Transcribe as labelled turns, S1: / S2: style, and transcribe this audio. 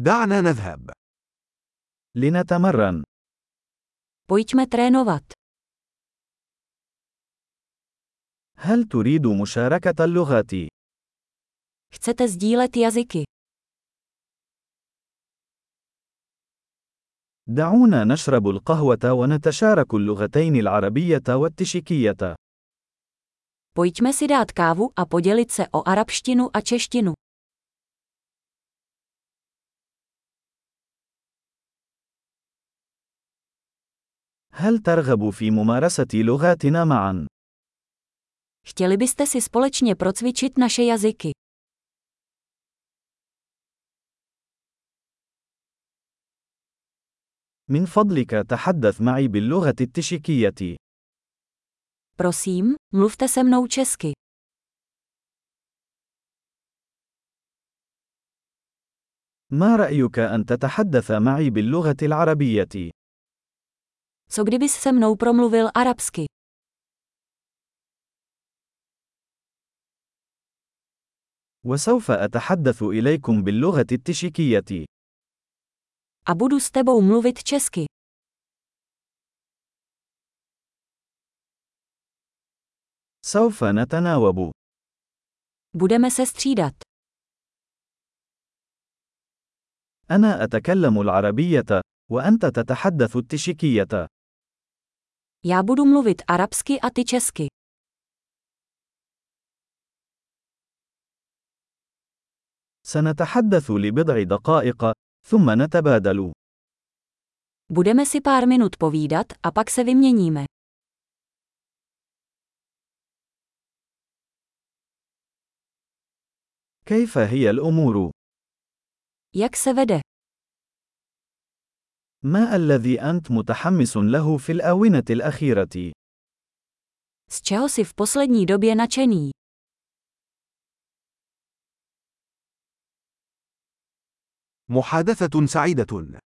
S1: دعنا نذهب.
S2: لنتمرن.
S3: Pojďme trénovat.
S2: هل تريد مشاركة اللغات؟
S3: Chcete sdílet jazyky.
S2: دعونا نشرب القهوة ونتشارك اللغتين العربية والتشيكية.
S3: Pojďme si dát kávu a podělit se o arabštinu a češtinu.
S2: هل ترغب في ممارسة لغاتنا معا؟
S3: Chtěli byste si společně procvičit naše jazyky.
S2: من فضلك تحدث معي باللغة التشيكية.
S3: Prosím, mluvte se mnou česky.
S2: ما رأيك أن تتحدث معي باللغة العربية؟
S3: Co kdybys se mnou promluvil arabsky?
S2: وسوف أتحدث إليكم باللغة التشيكية.
S3: A budu s tebou mluvit česky.
S2: سوف نتناوب.
S3: Budeme se střídat.
S2: أنا أتكلم العربية، وأنت تتحدث التشيكية.
S3: Já budu mluvit arabsky a ty česky.
S2: سنتحدث لبضع دقائق، ثم نتبادل.
S3: Budeme si pár minut povídat a pak se vyměníme.
S2: كيف هي الأمور؟
S3: Jak se vede?
S2: ما الذي أنت متحمس له في الآونة الأخيرة؟
S3: Z čeho si v poslední době načený?
S1: محادثة سعيدة.